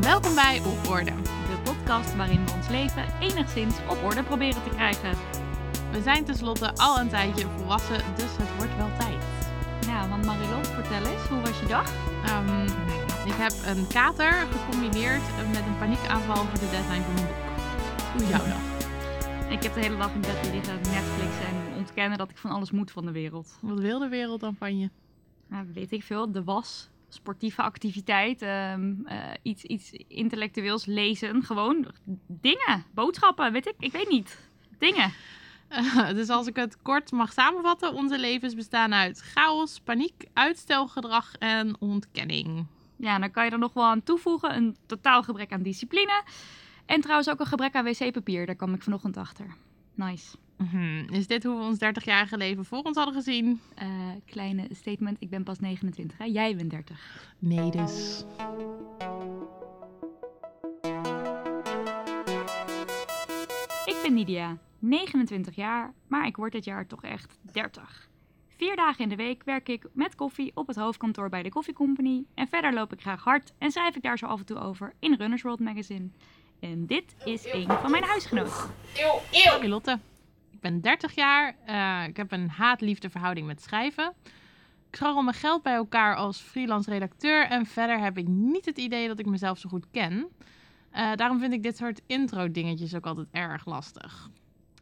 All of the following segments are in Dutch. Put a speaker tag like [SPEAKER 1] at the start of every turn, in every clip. [SPEAKER 1] Welkom bij Op Orde, de podcast waarin we ons leven enigszins op orde proberen te krijgen. We zijn tenslotte al een tijdje volwassen, dus het wordt wel tijd.
[SPEAKER 2] Nou, want Marilon, vertel eens, hoe was je dag?
[SPEAKER 1] Ehm, ik heb een kater gecombineerd met een paniekaanval voor de deadline van mijn boek. Hoe jouw dag?
[SPEAKER 2] Ik heb de hele dag in bed liggen, Netflix en ontkennen dat ik van alles moet van de wereld.
[SPEAKER 1] Wat wil de wereld dan van je?
[SPEAKER 2] Nou, weet ik veel, de was, sportieve activiteit, ehm, eh, iets, iets intellectueels lezen, gewoon dingen, boodschappen, weet ik, ik weet niet. Dingen.
[SPEAKER 1] Eh, dus als ik het kort mag samenvatten, onze levens bestaan uit chaos, paniek, uitstelgedrag en ontkenning.
[SPEAKER 2] Ja, dan kan je er nog wel aan toevoegen, een totaal gebrek aan discipline. En trouwens ook een gebrek aan wc-papier, daar kwam ik vanochtend achter. Nice.
[SPEAKER 1] Mhm, Is dit hoe we ons 30-jarige leven voor ons hadden gezien?
[SPEAKER 2] Eh, kleine statement, ik ben pas 29, hè? jij bent 30.
[SPEAKER 1] Nee, dus.
[SPEAKER 2] Ik ben Nidia, 29 jaar, maar ik word dit jaar toch echt 30. Vier dagen in de week werk ik met koffie op het hoofdkantoor bij de Coffee Company. En verder loop ik graag hard en schrijf ik daar zo af en toe over in Runners World Magazine. En dit is een van mijn huisgenoten.
[SPEAKER 1] Hoi Lotte. Ik ben 30 jaar. eh, ik heb een haat-liefde verhouding met schrijven. Ik scharrel mijn geld bij elkaar als freelance redacteur. En verder heb ik niet het idee dat ik mezelf zo goed ken. Eh, daarom vind ik dit soort intro-dingetjes ook altijd erg lastig.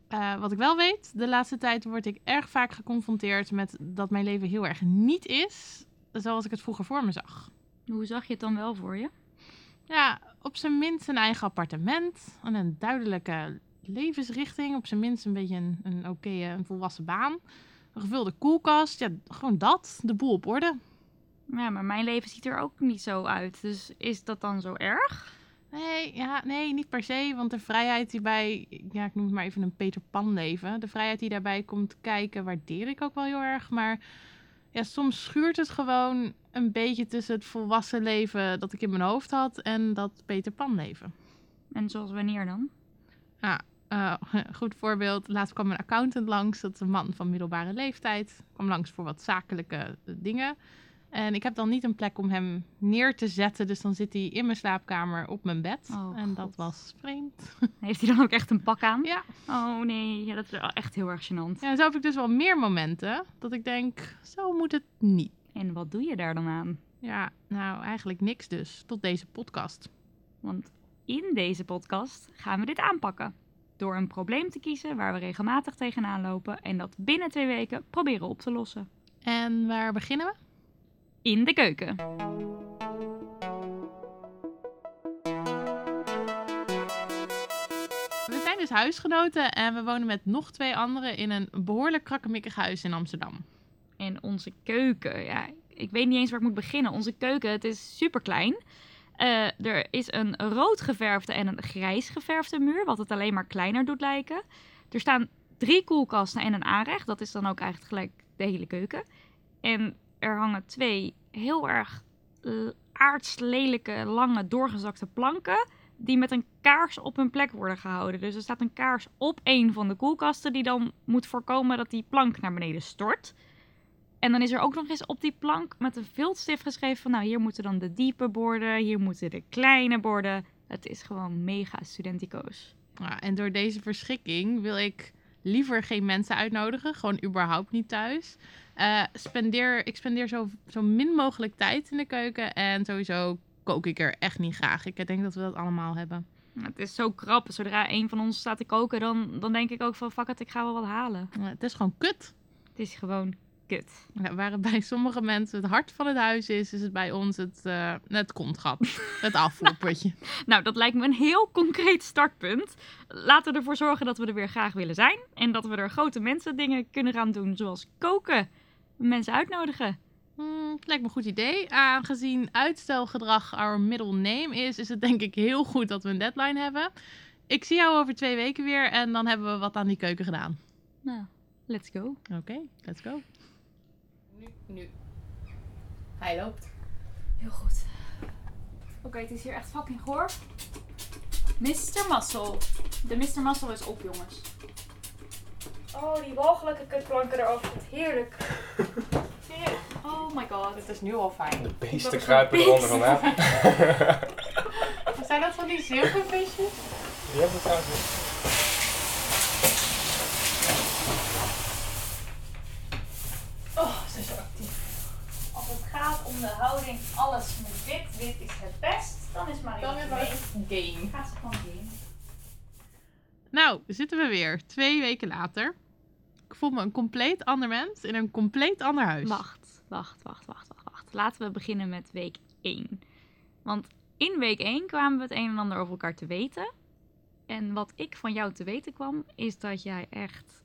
[SPEAKER 1] Eh, wat ik wel weet, de laatste tijd word ik erg vaak geconfronteerd met dat mijn leven heel erg niet is zoals ik het vroeger voor me zag.
[SPEAKER 2] Hoe zag je het dan wel voor je?
[SPEAKER 1] Ja, op zijn minst een eigen appartement. En een duidelijke levensrichting. Op zijn minst een beetje een, een oké, eh, een volwassen baan. Een gevulde koelkast. Ja, gewoon dat. De boel op orde.
[SPEAKER 2] Ja, maar mijn leven ziet er ook niet zo uit. Dus is dat dan zo erg?
[SPEAKER 1] Nee, ja, nee, niet per se. Want de vrijheid die bij, ja, ik noem het maar even een Peter Pan leven. De vrijheid die daarbij komt kijken, waardeer ik ook wel heel erg. Maar ja, soms schuurt het gewoon een beetje tussen het volwassen leven dat ik in mijn hoofd had en dat Peter Pan leven.
[SPEAKER 2] En zoals wanneer dan?
[SPEAKER 1] Eh, goed voorbeeld. Laatst kwam een accountant langs. Dat is een man van middelbare leeftijd. Kwam langs voor wat zakelijke eh, dingen. En ik heb dan niet een plek om hem neer te zetten. Dus dan zit hij in mijn slaapkamer op mijn bed.
[SPEAKER 2] Oh,
[SPEAKER 1] en dat
[SPEAKER 2] God. Hm?
[SPEAKER 1] was vreemd.
[SPEAKER 2] Heeft hij dan ook echt een pak aan?
[SPEAKER 1] Ja.
[SPEAKER 2] Oh nee, ja, dat is wel echt heel erg gênant.
[SPEAKER 1] ja, en zo heb ik dus wel meer momenten dat ik denk, zo moet het niet.
[SPEAKER 2] En wat doe je daar dan aan?
[SPEAKER 1] Ja, nou eigenlijk niks dus. Tot deze podcast.
[SPEAKER 2] Want in deze podcast gaan we dit aanpakken. Door een probleem te kiezen waar we regelmatig tegenaan lopen en dat binnen twee weken proberen op te lossen.
[SPEAKER 1] En waar beginnen we?
[SPEAKER 2] In de keuken.
[SPEAKER 1] We zijn dus huisgenoten en we wonen met nog twee anderen in een behoorlijk krakkemikkig huis in Amsterdam.
[SPEAKER 2] En onze keuken, ja, ik weet niet eens waar ik moet beginnen. Onze keuken, het is super klein. er is een rood geverfde en een grijs geverfde muur, wat het alleen maar kleiner doet lijken. Er staan drie koelkasten en een aanrecht. Dat is dan ook eigenlijk gelijk de hele keuken. En er hangen twee heel erg eh, aards lelijke, lange, doorgezakte planken. Die met een kaars op hun plek worden gehouden. Dus er staat een kaars op een van de koelkasten. Die dan moet voorkomen dat die plank naar beneden stort. En dan is er ook nog eens op die plank met een viltstift geschreven van... Nou, hier moeten dan de diepe borden, hier moeten de kleine borden. Het is gewoon mega studentico's.
[SPEAKER 1] Ja, en door deze verschikking wil ik liever geen mensen uitnodigen. Gewoon überhaupt niet thuis. Eh, spendeer, ik spendeer zo, zo min mogelijk tijd in de keuken. En sowieso kook ik er echt niet graag. Ik denk dat we dat allemaal hebben.
[SPEAKER 2] Het is zo krap. Zodra een van ons staat te koken, dan, dan denk ik ook van... Fuck it, ik ga wel wat halen.
[SPEAKER 1] Eh, het is gewoon kut.
[SPEAKER 2] Het is gewoon kut.
[SPEAKER 1] Ja, Waar het bij sommige mensen het hart van het huis is, is het bij ons het, eh het kontgat. Het afvoerputje.
[SPEAKER 2] Nou, dat lijkt me een heel concreet startpunt. Laten we ervoor zorgen dat we er weer graag willen zijn. En dat we er grote mensen dingen kunnen gaan doen, zoals koken. Mensen uitnodigen.
[SPEAKER 1] Hmm, het lijkt me een goed idee. Aangezien uitstelgedrag our middle name is, is het denk ik heel goed dat we een deadline hebben. Ik zie jou over twee weken weer en dan hebben we wat aan die keuken gedaan.
[SPEAKER 2] Nou, let's go.
[SPEAKER 1] Oké, let's go.
[SPEAKER 3] Nu, nu. Hij loopt.
[SPEAKER 4] Heel goed. Oké, het is hier echt fucking goor. Mr. Muscle. De Mr. Muscle is op, jongens. Oh, die walgelijke kutplanken erover. Heerlijk. Serieus. Oh my god.
[SPEAKER 3] Het is nu al fijn.
[SPEAKER 5] De beesten kruipen eronder vandaan.
[SPEAKER 3] Zijn dat van die zilvervisjes?
[SPEAKER 5] Je hebt het trouwens niet.
[SPEAKER 4] Oh, ze is zo actief. Als het gaat om de houding, alles moet wit, wit is het best, dan is Mario
[SPEAKER 3] Dan weer
[SPEAKER 4] mee.
[SPEAKER 3] een game.
[SPEAKER 4] Gaat ze gewoon heen.
[SPEAKER 1] Nou, zitten we weer. Twee weken later. Ik voel me een compleet ander mens in een compleet ander huis.
[SPEAKER 2] Wacht, wacht, wacht, wacht, wacht, wacht. Laten we beginnen met week 1. Want in week 1 kwamen we het een en ander over elkaar te weten. En wat ik van jou te weten kwam, is dat jij echt...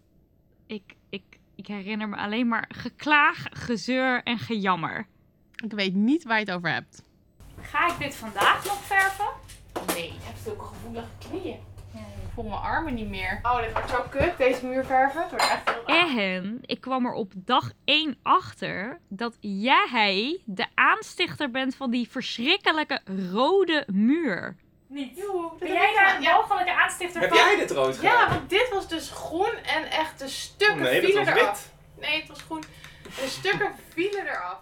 [SPEAKER 2] Ik, ik, ik herinner me alleen maar geklaag, gezeur en gejammer.
[SPEAKER 1] Ik weet niet waar je het over hebt.
[SPEAKER 4] Ga ik dit vandaag nog verven?
[SPEAKER 3] Nee, ik heb zulke gevoelige knieën.
[SPEAKER 4] Ja,
[SPEAKER 3] Ik voel mijn armen niet meer. Oh, dit wordt zo kut, deze muurverven. Het wordt echt heel
[SPEAKER 2] En ik kwam er op dag 1 achter dat jij de aanstichter bent van die verschrikkelijke rode muur.
[SPEAKER 4] Niet.
[SPEAKER 3] Joe, dat
[SPEAKER 4] Ben
[SPEAKER 3] heb
[SPEAKER 4] jij
[SPEAKER 3] ik
[SPEAKER 4] daar
[SPEAKER 3] aan- ja,
[SPEAKER 4] mogelijke aanstifter
[SPEAKER 5] Heb
[SPEAKER 4] van?
[SPEAKER 5] jij dit rood gedaan?
[SPEAKER 3] ja, want dit was dus groen en echt de stukken
[SPEAKER 5] nee, dat
[SPEAKER 3] vielen
[SPEAKER 5] was
[SPEAKER 3] eraf.
[SPEAKER 5] wit.
[SPEAKER 3] Nee, het was groen. De stukken vielen eraf.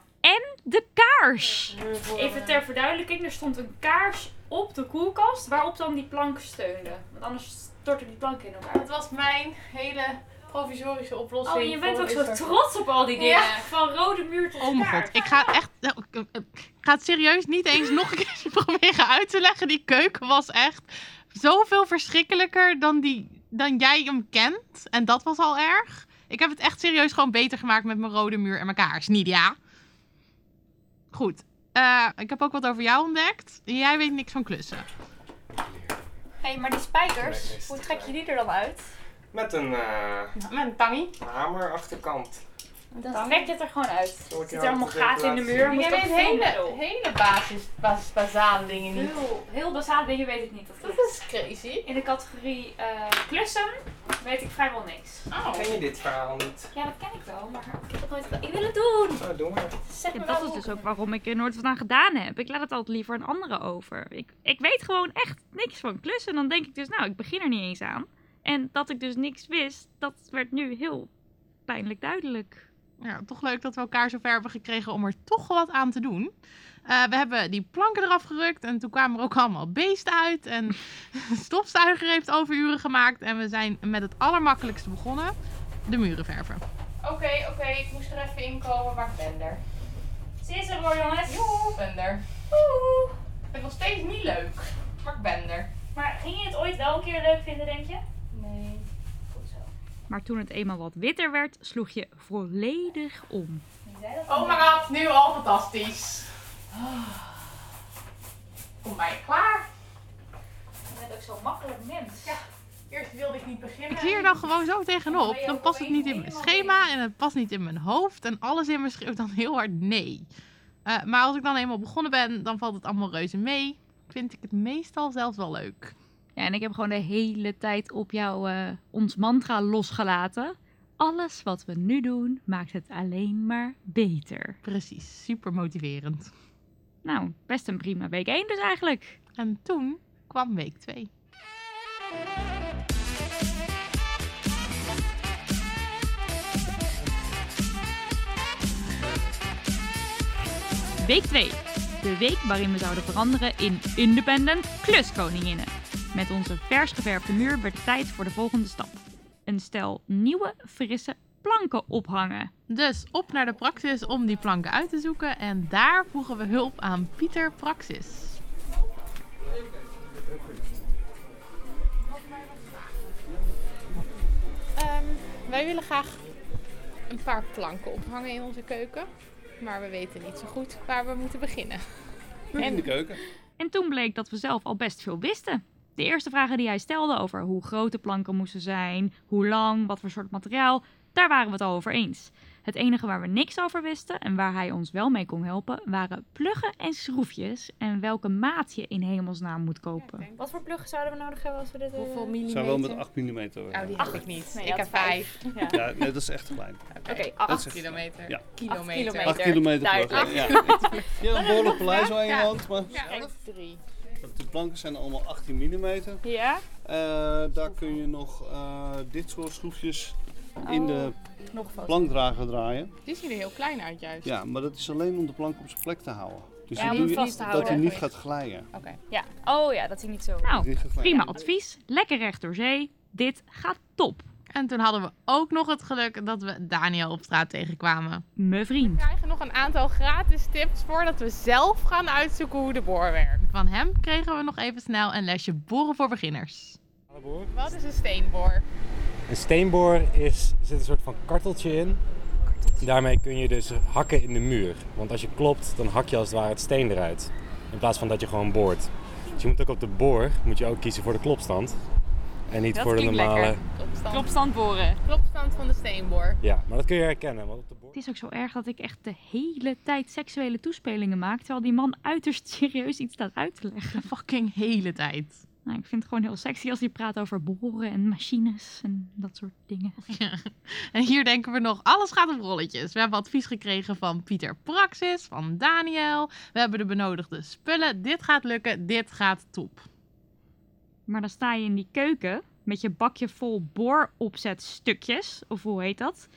[SPEAKER 2] De kaars!
[SPEAKER 4] Even ter verduidelijking, er stond een kaars op de koelkast waarop dan die plank steunde. Want anders stortte die plank in elkaar.
[SPEAKER 3] Het was mijn hele provisorische oplossing.
[SPEAKER 4] Oh, je bent
[SPEAKER 3] voor
[SPEAKER 4] ook zo
[SPEAKER 3] dit soort-
[SPEAKER 4] trots op al die dingen.
[SPEAKER 3] Ja.
[SPEAKER 4] Van rode muur tot
[SPEAKER 1] Oh mijn
[SPEAKER 4] kaart.
[SPEAKER 1] god, ik ga echt. nou, ik- ik- ik ga het serieus niet eens nog een keer proberen uit te leggen. Die keuken was echt zoveel verschrikkelijker dan, die, dan jij hem kent. En dat was al erg. Ik heb het echt serieus gewoon beter gemaakt met mijn rode muur en mijn kaars, Nidia. Goed. Eh, ik heb ook wat over jou ontdekt. Jij weet niks van klussen.
[SPEAKER 4] Hé, hey, maar die
[SPEAKER 5] Nee,
[SPEAKER 4] spijkers,
[SPEAKER 5] nee, is
[SPEAKER 4] hoe
[SPEAKER 5] te
[SPEAKER 4] trek je
[SPEAKER 5] klein.
[SPEAKER 4] die er dan uit?
[SPEAKER 5] Met een eh,
[SPEAKER 3] Met een tangie.
[SPEAKER 5] hamerachterkant.
[SPEAKER 4] Dan trek je het er gewoon uit.
[SPEAKER 5] Zal ik
[SPEAKER 4] Er
[SPEAKER 5] jou
[SPEAKER 4] zitten allemaal
[SPEAKER 5] dat even
[SPEAKER 4] gaten in de
[SPEAKER 5] laten
[SPEAKER 4] muur.
[SPEAKER 5] zien?
[SPEAKER 4] Moet
[SPEAKER 3] Jij
[SPEAKER 4] dat
[SPEAKER 3] weet
[SPEAKER 4] filmen,
[SPEAKER 3] hele,
[SPEAKER 4] joh.
[SPEAKER 3] hele basis, basis, basale dingen niet.
[SPEAKER 4] Heel, heel basale dingen weet ik niet. Of
[SPEAKER 3] Dat is crazy.
[SPEAKER 4] In de categorie eh, klussen weet ik vrijwel niks.
[SPEAKER 3] Oh.
[SPEAKER 5] Ken je dit verhaal niet?
[SPEAKER 4] Ja, dat ken ik wel, maar ik heb dat nooit gedaan. Ik wil het doen!
[SPEAKER 5] Nou, doe maar.
[SPEAKER 4] Zeg
[SPEAKER 2] Ja,
[SPEAKER 4] me
[SPEAKER 2] dat
[SPEAKER 4] wel
[SPEAKER 2] is
[SPEAKER 4] hoe
[SPEAKER 2] dus
[SPEAKER 4] ik
[SPEAKER 2] ook
[SPEAKER 4] het
[SPEAKER 2] waarom ik er nooit wat aan gedaan heb. Ik laat het altijd liever aan anderen over. Ik, ik weet gewoon echt niks van klussen. En dan denk ik dus, nou, ik begin er niet eens aan. En dat ik dus niks wist, dat werd nu heel pijnlijk duidelijk.
[SPEAKER 1] Ja, toch leuk dat we elkaar zover hebben gekregen om er toch wat aan te doen. Eh, we hebben die planken eraf gerukt en toen kwamen er ook allemaal beesten uit. En de stofzuiger heeft overuren gemaakt en we zijn met het allermakkelijkste begonnen. De muren verven.
[SPEAKER 3] Oké, oké, ik moest er even inkomen, maar ik ben er.
[SPEAKER 4] doe. Ze is er hoor, jongens.
[SPEAKER 3] Joe, ik ben er.
[SPEAKER 4] Woehoe.
[SPEAKER 3] Ik vind het nog steeds niet leuk, maar ik ben er.
[SPEAKER 4] Maar ging je het ooit wel een keer leuk vinden, denk je?
[SPEAKER 3] Nee.
[SPEAKER 4] Goed zo.
[SPEAKER 2] Maar toen het eenmaal wat witter werd, sloeg je volledig om.
[SPEAKER 4] Je zei dat al.
[SPEAKER 3] Oh mijn god, nu al fantastisch. Kom bij, klaar.
[SPEAKER 4] Je bent ook zo'n makkelijk mens. Ja.
[SPEAKER 3] Eerst wilde ik niet beginnen.
[SPEAKER 1] Ik zie er dan gewoon zo tegenop. Dan past het niet in mijn schema en het past niet in mijn hoofd. En alles in me schreeuwt dan heel hard nee. Eh, maar als ik dan eenmaal begonnen ben, dan valt het allemaal reuze mee. Vind ik het meestal zelfs wel leuk.
[SPEAKER 2] Ja, en ik heb gewoon de hele tijd op jou eh, ons mantra losgelaten. Alles wat we nu doen, maakt het alleen maar beter.
[SPEAKER 1] Precies, super motiverend.
[SPEAKER 2] Nou, best een prima week 1 dus eigenlijk.
[SPEAKER 1] En toen kwam week 2.
[SPEAKER 2] Week 2. De week waarin we zouden veranderen in independent kluskoninginnen. Met onze vers geverfde muur werd tijd voor de volgende stap. Een stel nieuwe, frisse planken ophangen.
[SPEAKER 1] Dus op naar de Praxis om die planken uit te zoeken. En daar voegen we hulp aan Pieter Praxis. Ehm, wij willen graag een paar planken ophangen in onze keuken. Maar we weten niet zo goed waar we moeten beginnen.
[SPEAKER 5] In de keuken.
[SPEAKER 2] En toen bleek dat we zelf al best veel wisten. De eerste vragen die hij stelde over hoe groot de planken moesten zijn, hoe lang, wat voor soort materiaal, daar waren we het al over eens. Het enige waar we niks over wisten en waar hij ons wel mee kon helpen, waren pluggen en schroefjes en welke maat je in hemelsnaam moet kopen.
[SPEAKER 4] Wat voor pluggen zouden we nodig hebben als we dit eh, doen?
[SPEAKER 3] Hoeveel
[SPEAKER 6] We
[SPEAKER 3] millimeter?
[SPEAKER 6] zijn wel met 8 mm. werken.
[SPEAKER 1] Nou,
[SPEAKER 3] Oh, die heb ik niet.
[SPEAKER 4] Nee, je
[SPEAKER 3] ik
[SPEAKER 4] had
[SPEAKER 3] heb 5
[SPEAKER 6] Ja, nee, dat is echt klein.
[SPEAKER 4] Oké,
[SPEAKER 6] Dat
[SPEAKER 4] acht.
[SPEAKER 6] is echt-
[SPEAKER 3] kilometer.
[SPEAKER 6] Ja.
[SPEAKER 3] Kilometer.
[SPEAKER 4] kilometer.
[SPEAKER 6] 8 km per
[SPEAKER 4] Duidelijk.
[SPEAKER 6] dag. Ja. Je hebt een behoorlijk paleis aan je hand, maar
[SPEAKER 3] Ja, 3.
[SPEAKER 6] de planken zijn allemaal 18 mm.
[SPEAKER 4] Ja?
[SPEAKER 6] daar kun je nog eh, dit soort schroefjes in de plankdrager draaien.
[SPEAKER 3] Die zien er heel klein uit juist.
[SPEAKER 6] Ja, maar dat is alleen om de plank op zijn plek te houden. Dus
[SPEAKER 4] Ja,
[SPEAKER 6] dan
[SPEAKER 4] om
[SPEAKER 6] doe
[SPEAKER 4] hem
[SPEAKER 6] je
[SPEAKER 4] vast te
[SPEAKER 6] dat
[SPEAKER 4] houden.
[SPEAKER 6] hij niet gaat glijden.
[SPEAKER 4] Oké. Ja. Oh ja, dat hij niet zo...
[SPEAKER 2] Nou,
[SPEAKER 6] Niet gaat glijden.
[SPEAKER 2] prima advies. Lekker recht door zee. Dit gaat top.
[SPEAKER 1] En toen hadden we ook nog het geluk dat we Daniel op straat tegenkwamen.
[SPEAKER 2] Mijn
[SPEAKER 3] We
[SPEAKER 2] vriend.
[SPEAKER 3] krijgen nog een aantal gratis tips voordat we zelf gaan uitzoeken hoe de boor werkt.
[SPEAKER 1] Van hem kregen we nog even snel een lesje boren voor beginners.
[SPEAKER 3] Wat is een steenboor?
[SPEAKER 7] Een steenboor is, zit een soort van karteltje in. Daarmee kun je dus hakken in de muur. Want als je klopt, dan hak je als het ware het steen eruit. In plaats van dat je gewoon boort. Dus je moet ook op de boor moet je ook kiezen voor de klopstand. En niet
[SPEAKER 2] Dat
[SPEAKER 7] voor de
[SPEAKER 2] klinkt
[SPEAKER 7] normale.
[SPEAKER 2] lekker.
[SPEAKER 3] Klopstand.
[SPEAKER 2] Klopstand boren.
[SPEAKER 3] Klopstand van de steenboor.
[SPEAKER 7] Ja, maar dat kun je herkennen. Want op de boor...
[SPEAKER 2] Het is ook zo erg dat ik echt de hele tijd seksuele toespelingen maak. Terwijl die man uiterst serieus iets staat uit te leggen.
[SPEAKER 1] De fucking hele tijd.
[SPEAKER 2] Nou, ik vind het gewoon heel sexy als hij praat over boren en machines en dat soort dingen.
[SPEAKER 1] En hier denken we nog, alles gaat op rolletjes. We hebben advies gekregen van Pieter Praxis, van Daniel. We hebben de benodigde spullen. Dit gaat lukken, dit gaat top.
[SPEAKER 2] Maar dan sta je in die keuken met je bakje vol booropzetstukjes, of hoe heet dat?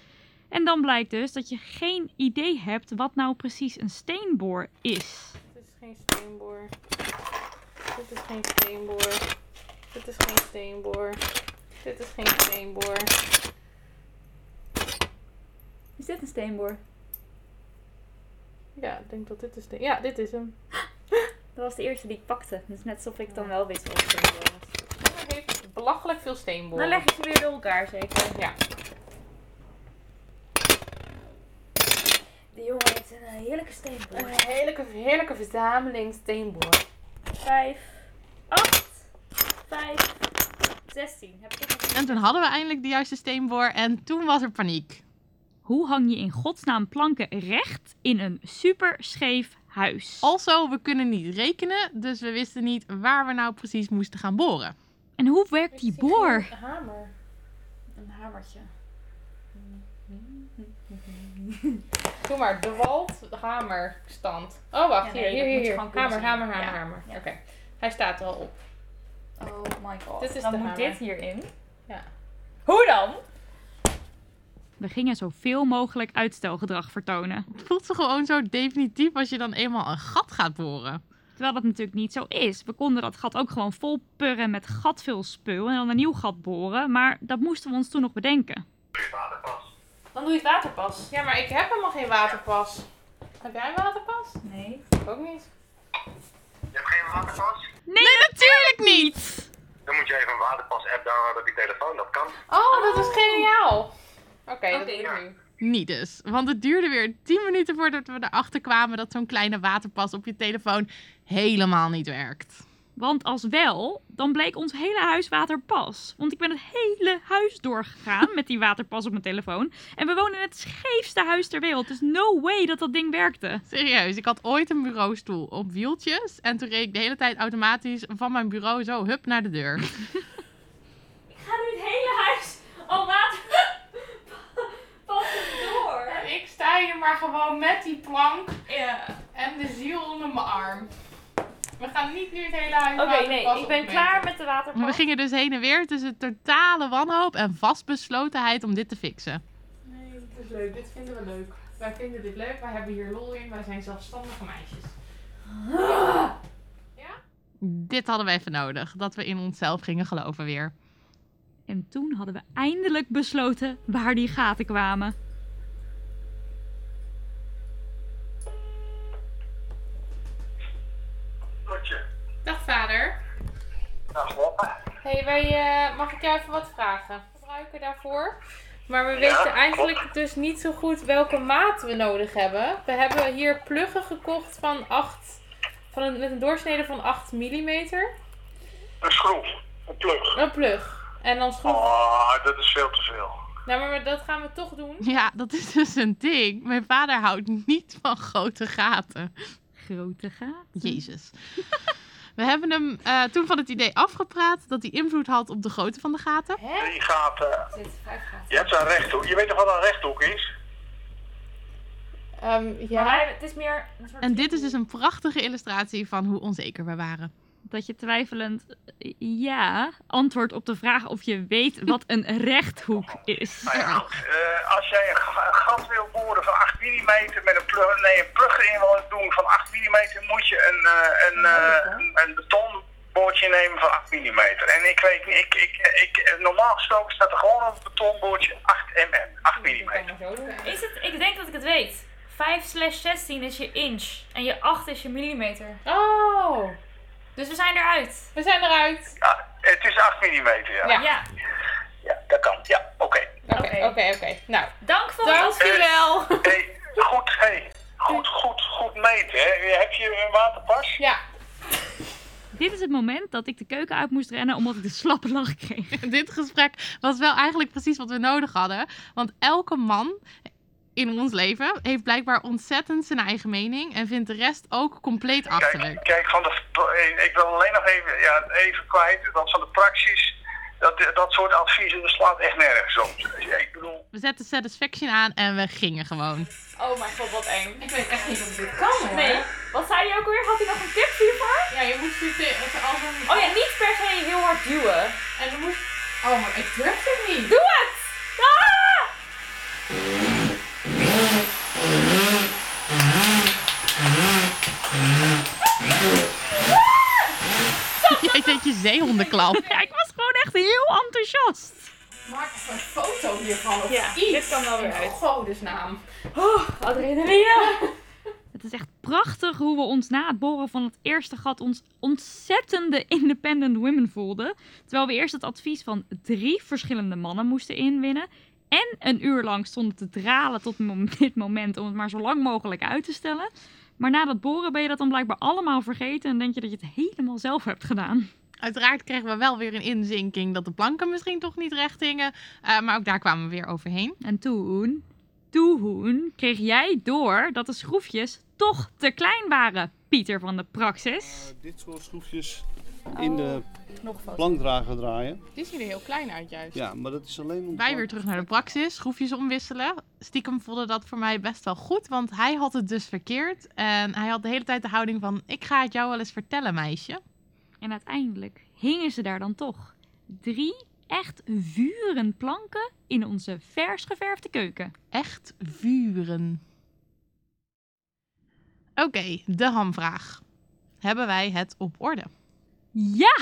[SPEAKER 2] En dan blijkt dus dat je geen idee hebt wat nou precies een steenboor is.
[SPEAKER 3] Dit is geen steenboor. Dit is geen steenboor. Dit is geen steenboor. Dit is geen steenboor.
[SPEAKER 4] Is dit een steenboor?
[SPEAKER 3] Ja, ik denk dat dit is de... Ja, dit is hem.
[SPEAKER 4] Dat was de eerste die ik pakte. Dus net alsof ik dan wel wist wat het steenboor was.
[SPEAKER 3] Hij heeft belachelijk veel steenboren.
[SPEAKER 4] Dan Nou, leg je ze weer door elkaar zeker.
[SPEAKER 3] Ja.
[SPEAKER 4] Die jongen heeft een eh, heerlijke steenboor.
[SPEAKER 3] Een heerlijke, heerlijke verzameling steenboren.
[SPEAKER 4] Vijf, acht, vijf, zestien. Heb ik nog
[SPEAKER 1] En toen hadden we eindelijk de juiste steenboor en toen was er paniek.
[SPEAKER 2] Hoe hang je in godsnaam planken recht in een super scheef huis?
[SPEAKER 1] Also, we kunnen niet rekenen, dus we wisten niet waar we nou precies moesten gaan boren.
[SPEAKER 2] En hoe werkt die boor?
[SPEAKER 3] Een hamer.
[SPEAKER 4] een hamertje.
[SPEAKER 3] Doe maar, de wald, hamerstand. Oh, wacht.
[SPEAKER 4] Ja,
[SPEAKER 3] hier,
[SPEAKER 4] nee, dat
[SPEAKER 3] hier,
[SPEAKER 4] moet je
[SPEAKER 3] hier. hier.
[SPEAKER 4] gewoon
[SPEAKER 3] Hamer,
[SPEAKER 4] kunnen
[SPEAKER 3] hamer,
[SPEAKER 4] zien.
[SPEAKER 3] hamer,
[SPEAKER 4] Ja.
[SPEAKER 3] hamer,
[SPEAKER 4] Ja.
[SPEAKER 3] Oké. Hij staat er al op.
[SPEAKER 4] Oh my god.
[SPEAKER 3] Dit is
[SPEAKER 4] dan
[SPEAKER 3] de
[SPEAKER 4] moet
[SPEAKER 3] hamer.
[SPEAKER 4] dit hierin.
[SPEAKER 3] Ja.
[SPEAKER 4] Hoe dan?
[SPEAKER 2] We gingen zoveel mogelijk uitstelgedrag vertonen.
[SPEAKER 1] Het voelt ze gewoon zo definitief als je dan eenmaal een gat gaat boren.
[SPEAKER 2] Terwijl dat natuurlijk niet zo is. We konden dat gat ook gewoon vol purren met gatveel spul en dan een nieuw gat boren. Maar dat moesten we ons toen nog bedenken.
[SPEAKER 4] Dan doe je het waterpas.
[SPEAKER 3] Ja, maar ik heb helemaal geen waterpas. Heb jij een waterpas?
[SPEAKER 4] Nee.
[SPEAKER 3] Ik ook niet.
[SPEAKER 8] Je hebt geen waterpas?
[SPEAKER 2] Nee, natuurlijk niet!
[SPEAKER 8] Dan moet je even een waterpas-app downloaden op je telefoon, dat kan.
[SPEAKER 3] Oh, dat is geniaal. Oké, dat
[SPEAKER 4] Oké. nou.
[SPEAKER 3] doe ik nu.
[SPEAKER 1] Niet dus, want het duurde weer 10 minuten voordat we erachter kwamen dat zo'n kleine waterpas op je telefoon helemaal niet werkt.
[SPEAKER 2] Want als wel, dan bleek ons hele huis waterpas. Want ik ben het hele huis doorgegaan met die waterpas op mijn telefoon. En we wonen in het scheefste huis ter wereld. Dus no way dat dat ding werkte.
[SPEAKER 1] Serieus, ik had ooit een bureaustoel op wieltjes en toen reed ik de hele tijd automatisch van mijn bureau zo hup naar de deur.
[SPEAKER 4] Ik ga nu het hele huis al waterpas door.
[SPEAKER 3] Ik sta hier maar gewoon met die plank
[SPEAKER 4] Ja.
[SPEAKER 3] en de ziel onder mijn arm. We gaan niet nu het hele huis
[SPEAKER 4] Oké,
[SPEAKER 3] waterpas
[SPEAKER 4] nee. Ik ben
[SPEAKER 3] opmeten.
[SPEAKER 4] klaar met de
[SPEAKER 1] Maar we
[SPEAKER 4] waterpas.
[SPEAKER 1] gingen dus heen en weer tussen totale wanhoop en vastbeslotenheid om dit te fixen.
[SPEAKER 3] Nee, dit is leuk. Dit vinden we leuk. Wij vinden dit leuk. Wij hebben hier lol in. Wij zijn zelfstandige meisjes.
[SPEAKER 1] Ah! Dit hadden we even nodig, dat we in onszelf gingen geloven weer.
[SPEAKER 2] En toen hadden we eindelijk besloten waar die gaten kwamen.
[SPEAKER 8] Goedje.
[SPEAKER 3] Dag vader.
[SPEAKER 8] Nou, papa.
[SPEAKER 3] hey, wij, eh, mag ik jou even wat vragen? Gebruiken daarvoor? Maar we
[SPEAKER 8] Ja,
[SPEAKER 3] weten eigenlijk dus niet zo goed welke maat we nodig hebben. We hebben hier pluggen gekocht van 8, van een, met een doorsnede van 8 mm.
[SPEAKER 8] Een schroef. Een plug.
[SPEAKER 3] Een plug. En dan schroef.
[SPEAKER 8] Oh, dat is veel te veel.
[SPEAKER 3] Nou, maar dat gaan we toch doen.
[SPEAKER 1] Ja, dat is dus een ding. Mijn vader houdt niet van grote gaten.
[SPEAKER 2] Grote gaten.
[SPEAKER 1] Jezus. We hebben hem eh, toen van het idee afgepraat dat hij invloed had op de grootte van de gaten.
[SPEAKER 3] Hè?
[SPEAKER 8] Drie gaten.
[SPEAKER 4] Er zitten vijf gaten.
[SPEAKER 8] Je hebt een rechthoek. Je weet toch wat een rechthoek is?
[SPEAKER 3] Ehm,
[SPEAKER 4] Maar
[SPEAKER 3] ja.
[SPEAKER 4] hij- het is meer een soort
[SPEAKER 1] En dit is dus een prachtige illustratie van hoe onzeker we waren.
[SPEAKER 2] dat je twijfelend eh, ja antwoordt op de vraag of je weet wat een rechthoek is.
[SPEAKER 8] Nou ja, goed. eh, als jij een ga- een gat wil boren van 8 mm met een plug, nee, een plug in wil doen van 8 mm, moet je een, eh, een, eh, een, een betonboordje nemen van 8 mm. En ik weet niet, ik, ik, ik, eh, normaal gesproken staat er gewoon op het betonboordje 8 mm. 8 mm.
[SPEAKER 4] Is het, ik denk dat ik het weet. 5 slash 16 is je inch en je 8 is je millimeter.
[SPEAKER 3] Oh,
[SPEAKER 4] Dus we zijn eruit.
[SPEAKER 3] we zijn eruit.
[SPEAKER 8] Ja, Nou, het is 8 mm, ja.
[SPEAKER 3] Ja.
[SPEAKER 8] ja.
[SPEAKER 4] Ja,
[SPEAKER 8] dat kan. Ja, oké. Eh,
[SPEAKER 3] Oké,
[SPEAKER 4] Oké.
[SPEAKER 3] oké, oké. Nou,
[SPEAKER 4] dank voor het advies.
[SPEAKER 3] dankjewel.
[SPEAKER 8] Hey, goed, hey. Goed, goed, goed meten, hè. Heb je een waterpas?
[SPEAKER 3] Ja,
[SPEAKER 2] Dit is het moment dat ik de keuken uit moest rennen omdat ik de slappe lach kreeg.
[SPEAKER 1] Dit gesprek was wel eigenlijk precies wat we nodig hadden. Want elke man in ons leven heeft blijkbaar ontzettend zijn eigen mening. En vindt de rest ook compleet
[SPEAKER 8] Kijk,
[SPEAKER 1] achterlijk.
[SPEAKER 8] kijk van de, eh, ik wil alleen nog even, ja, even kwijt, want van de praxis, dat, eh, dat soort adviezen, dat slaat echt nergens op. Dus, eh, Ik bedoel,
[SPEAKER 1] We zetten satisfaction aan en we gingen gewoon.
[SPEAKER 4] Oh mijn god, wat eng.
[SPEAKER 3] ik weet echt niet of dit kan hoor.
[SPEAKER 4] Nee, wat zei je ook alweer? Had hij nog een tip hiervoor?
[SPEAKER 3] Ja, je moest dit tegen als een...
[SPEAKER 4] Oh ja, niet per se heel hard duwen.
[SPEAKER 3] En dan moest... Oh, maar ik durf het niet.
[SPEAKER 4] Doe het! Ah!
[SPEAKER 1] Jij deed je zeehondenklap.
[SPEAKER 2] Ja, ik was gewoon echt heel enthousiast.
[SPEAKER 3] Maak even een foto hiervan of
[SPEAKER 4] Ja,
[SPEAKER 3] iets.
[SPEAKER 4] dit kan wel weer
[SPEAKER 3] In
[SPEAKER 4] uit.
[SPEAKER 3] godesnaam.
[SPEAKER 4] Adrenaline!
[SPEAKER 2] Oh, Het is echt prachtig hoe we ons na het boren van het eerste gat ons ontzettende independent women voelden. Terwijl we eerst het advies van drie verschillende mannen moesten inwinnen. En een uur lang stonden te dralen tot mom- dit moment om het maar zo lang mogelijk uit te stellen. Maar na dat boren ben je dat dan blijkbaar allemaal vergeten en denk je dat je het helemaal zelf hebt gedaan.
[SPEAKER 1] Uiteraard kregen we wel weer een inzinking dat de planken misschien toch niet recht hingen. Eh, maar ook daar kwamen we weer overheen.
[SPEAKER 2] En toen, toen kreeg jij door dat de schroefjes toch te klein waren, Pieter van de Praxis.
[SPEAKER 6] Dit soort schroefjes in de plankdrager draaien.
[SPEAKER 3] Die zien er heel klein uit juist.
[SPEAKER 6] Ja, maar dat is alleen om...
[SPEAKER 1] Wij weer terug naar de praxis, schroefjes omwisselen. Stiekem voelde dat voor mij best wel goed, want hij had het dus verkeerd. En hij had de hele tijd de houding van, ik ga het jou wel eens vertellen meisje.
[SPEAKER 2] En uiteindelijk hingen ze daar dan toch. Drie echt vuren planken in onze vers geverfde keuken.
[SPEAKER 1] Echt vuren. Oké, de hamvraag. Hebben wij het op orde?
[SPEAKER 2] Ja!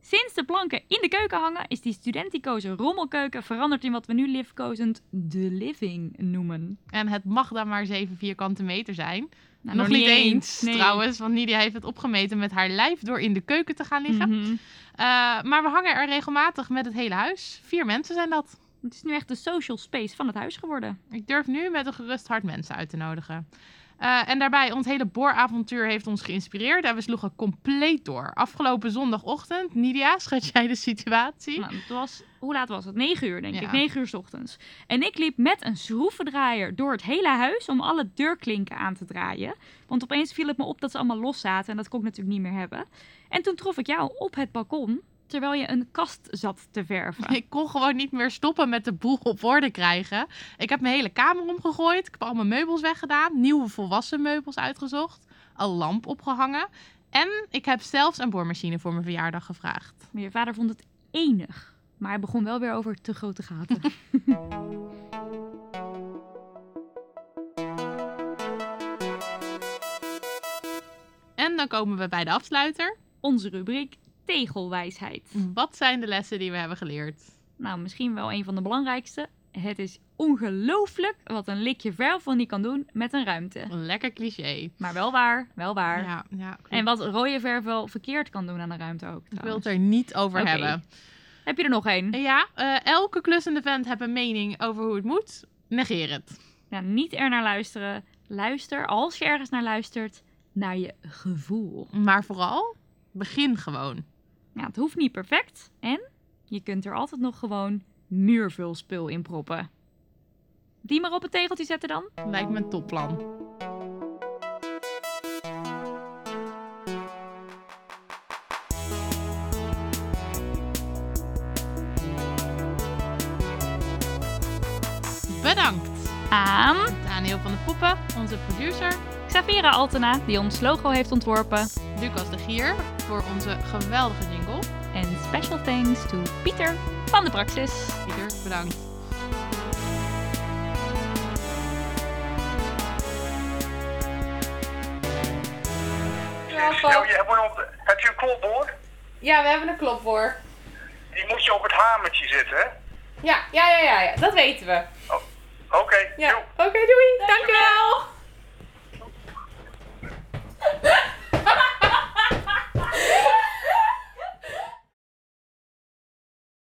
[SPEAKER 2] Sinds de planken in de keuken hangen, is die studenticoze rommelkeuken veranderd in wat we nu liefkozend de living noemen.
[SPEAKER 1] En het mag dan maar 7 vierkante meter zijn.
[SPEAKER 2] Nou,
[SPEAKER 1] Nog, niet eens,
[SPEAKER 2] nee.
[SPEAKER 1] trouwens, want Nidia heeft het opgemeten met haar lijf door in de keuken te gaan liggen.
[SPEAKER 2] Mhm.
[SPEAKER 1] Eh, maar we hangen er regelmatig met het hele huis. Vier mensen zijn dat.
[SPEAKER 2] Het is nu echt de social space van het huis geworden.
[SPEAKER 1] Ik durf nu met een gerust hart mensen uit te nodigen. Eh, en daarbij, ons hele booravontuur heeft ons geïnspireerd en we sloegen compleet door. Afgelopen zondagochtend, Nidia, schat jij de situatie?
[SPEAKER 2] Nou, het was, hoe laat was het? 9 uur, denk
[SPEAKER 1] Ja.
[SPEAKER 2] ik. 9 uur 's ochtends. En ik liep met een schroevendraaier door het hele huis om alle deurklinken aan te draaien. Want opeens viel het me op dat ze allemaal los zaten en dat kon ik natuurlijk niet meer hebben. En toen trof ik jou op het balkon terwijl je een kast zat te verven.
[SPEAKER 1] Ik kon gewoon niet meer stoppen met de boel op orde krijgen. Ik heb mijn hele kamer omgegooid. Ik heb al mijn meubels weggedaan. Nieuwe volwassen meubels uitgezocht. Een lamp opgehangen. En ik heb zelfs een boormachine voor mijn verjaardag gevraagd.
[SPEAKER 2] Maar je vader vond het enig. Maar hij begon wel weer over te grote gaten.
[SPEAKER 1] En dan komen we bij de afsluiter.
[SPEAKER 2] Onze rubriek tegelwijsheid.
[SPEAKER 1] Wat zijn de lessen die we hebben geleerd?
[SPEAKER 2] Nou, misschien wel een van de belangrijkste. Het is ongelooflijk wat een likje verf van die kan doen met een ruimte.
[SPEAKER 1] Een lekker cliché.
[SPEAKER 2] Maar wel waar, wel waar.
[SPEAKER 1] Ja, ja, klopt.
[SPEAKER 2] En wat rode verf wel verkeerd kan doen aan de ruimte
[SPEAKER 1] Ik
[SPEAKER 2] ook.
[SPEAKER 1] wil
[SPEAKER 2] trouwens.
[SPEAKER 1] het er niet over
[SPEAKER 2] Oké.
[SPEAKER 1] hebben.
[SPEAKER 2] Heb je er nog één?
[SPEAKER 1] Ja, eh, elke klussende vent heeft een mening over hoe het moet. Negeer het.
[SPEAKER 2] Ja, Nou, niet er naar luisteren. Luister, als je ergens naar luistert, naar je gevoel.
[SPEAKER 1] Maar vooral, begin gewoon.
[SPEAKER 2] Ja, het hoeft niet perfect. En je kunt er altijd nog gewoon muurvulspul in proppen. Die maar op het tegeltje zetten dan.
[SPEAKER 1] Lijkt me een topplan. Bedankt
[SPEAKER 2] Aan.
[SPEAKER 1] aan Daniel van de Poppen, onze producer.
[SPEAKER 2] Xavera Altena, die ons logo heeft ontworpen.
[SPEAKER 1] Lucas de Gier voor onze geweldige jingle.
[SPEAKER 2] En special thanks to Pieter van de Praxis.
[SPEAKER 1] Ieder, bedankt.
[SPEAKER 8] eh, Stel, je, heb, je op- heb je een klopboord?
[SPEAKER 3] Ja, we hebben een klopboor.
[SPEAKER 8] Die moet je op het hamertje zetten, hè? Oh,
[SPEAKER 3] Ja, ja, ja, ja, ja, dat weten we.
[SPEAKER 8] Oké,
[SPEAKER 3] Ja.
[SPEAKER 8] joe.
[SPEAKER 3] Oké, doei. Dankjewel.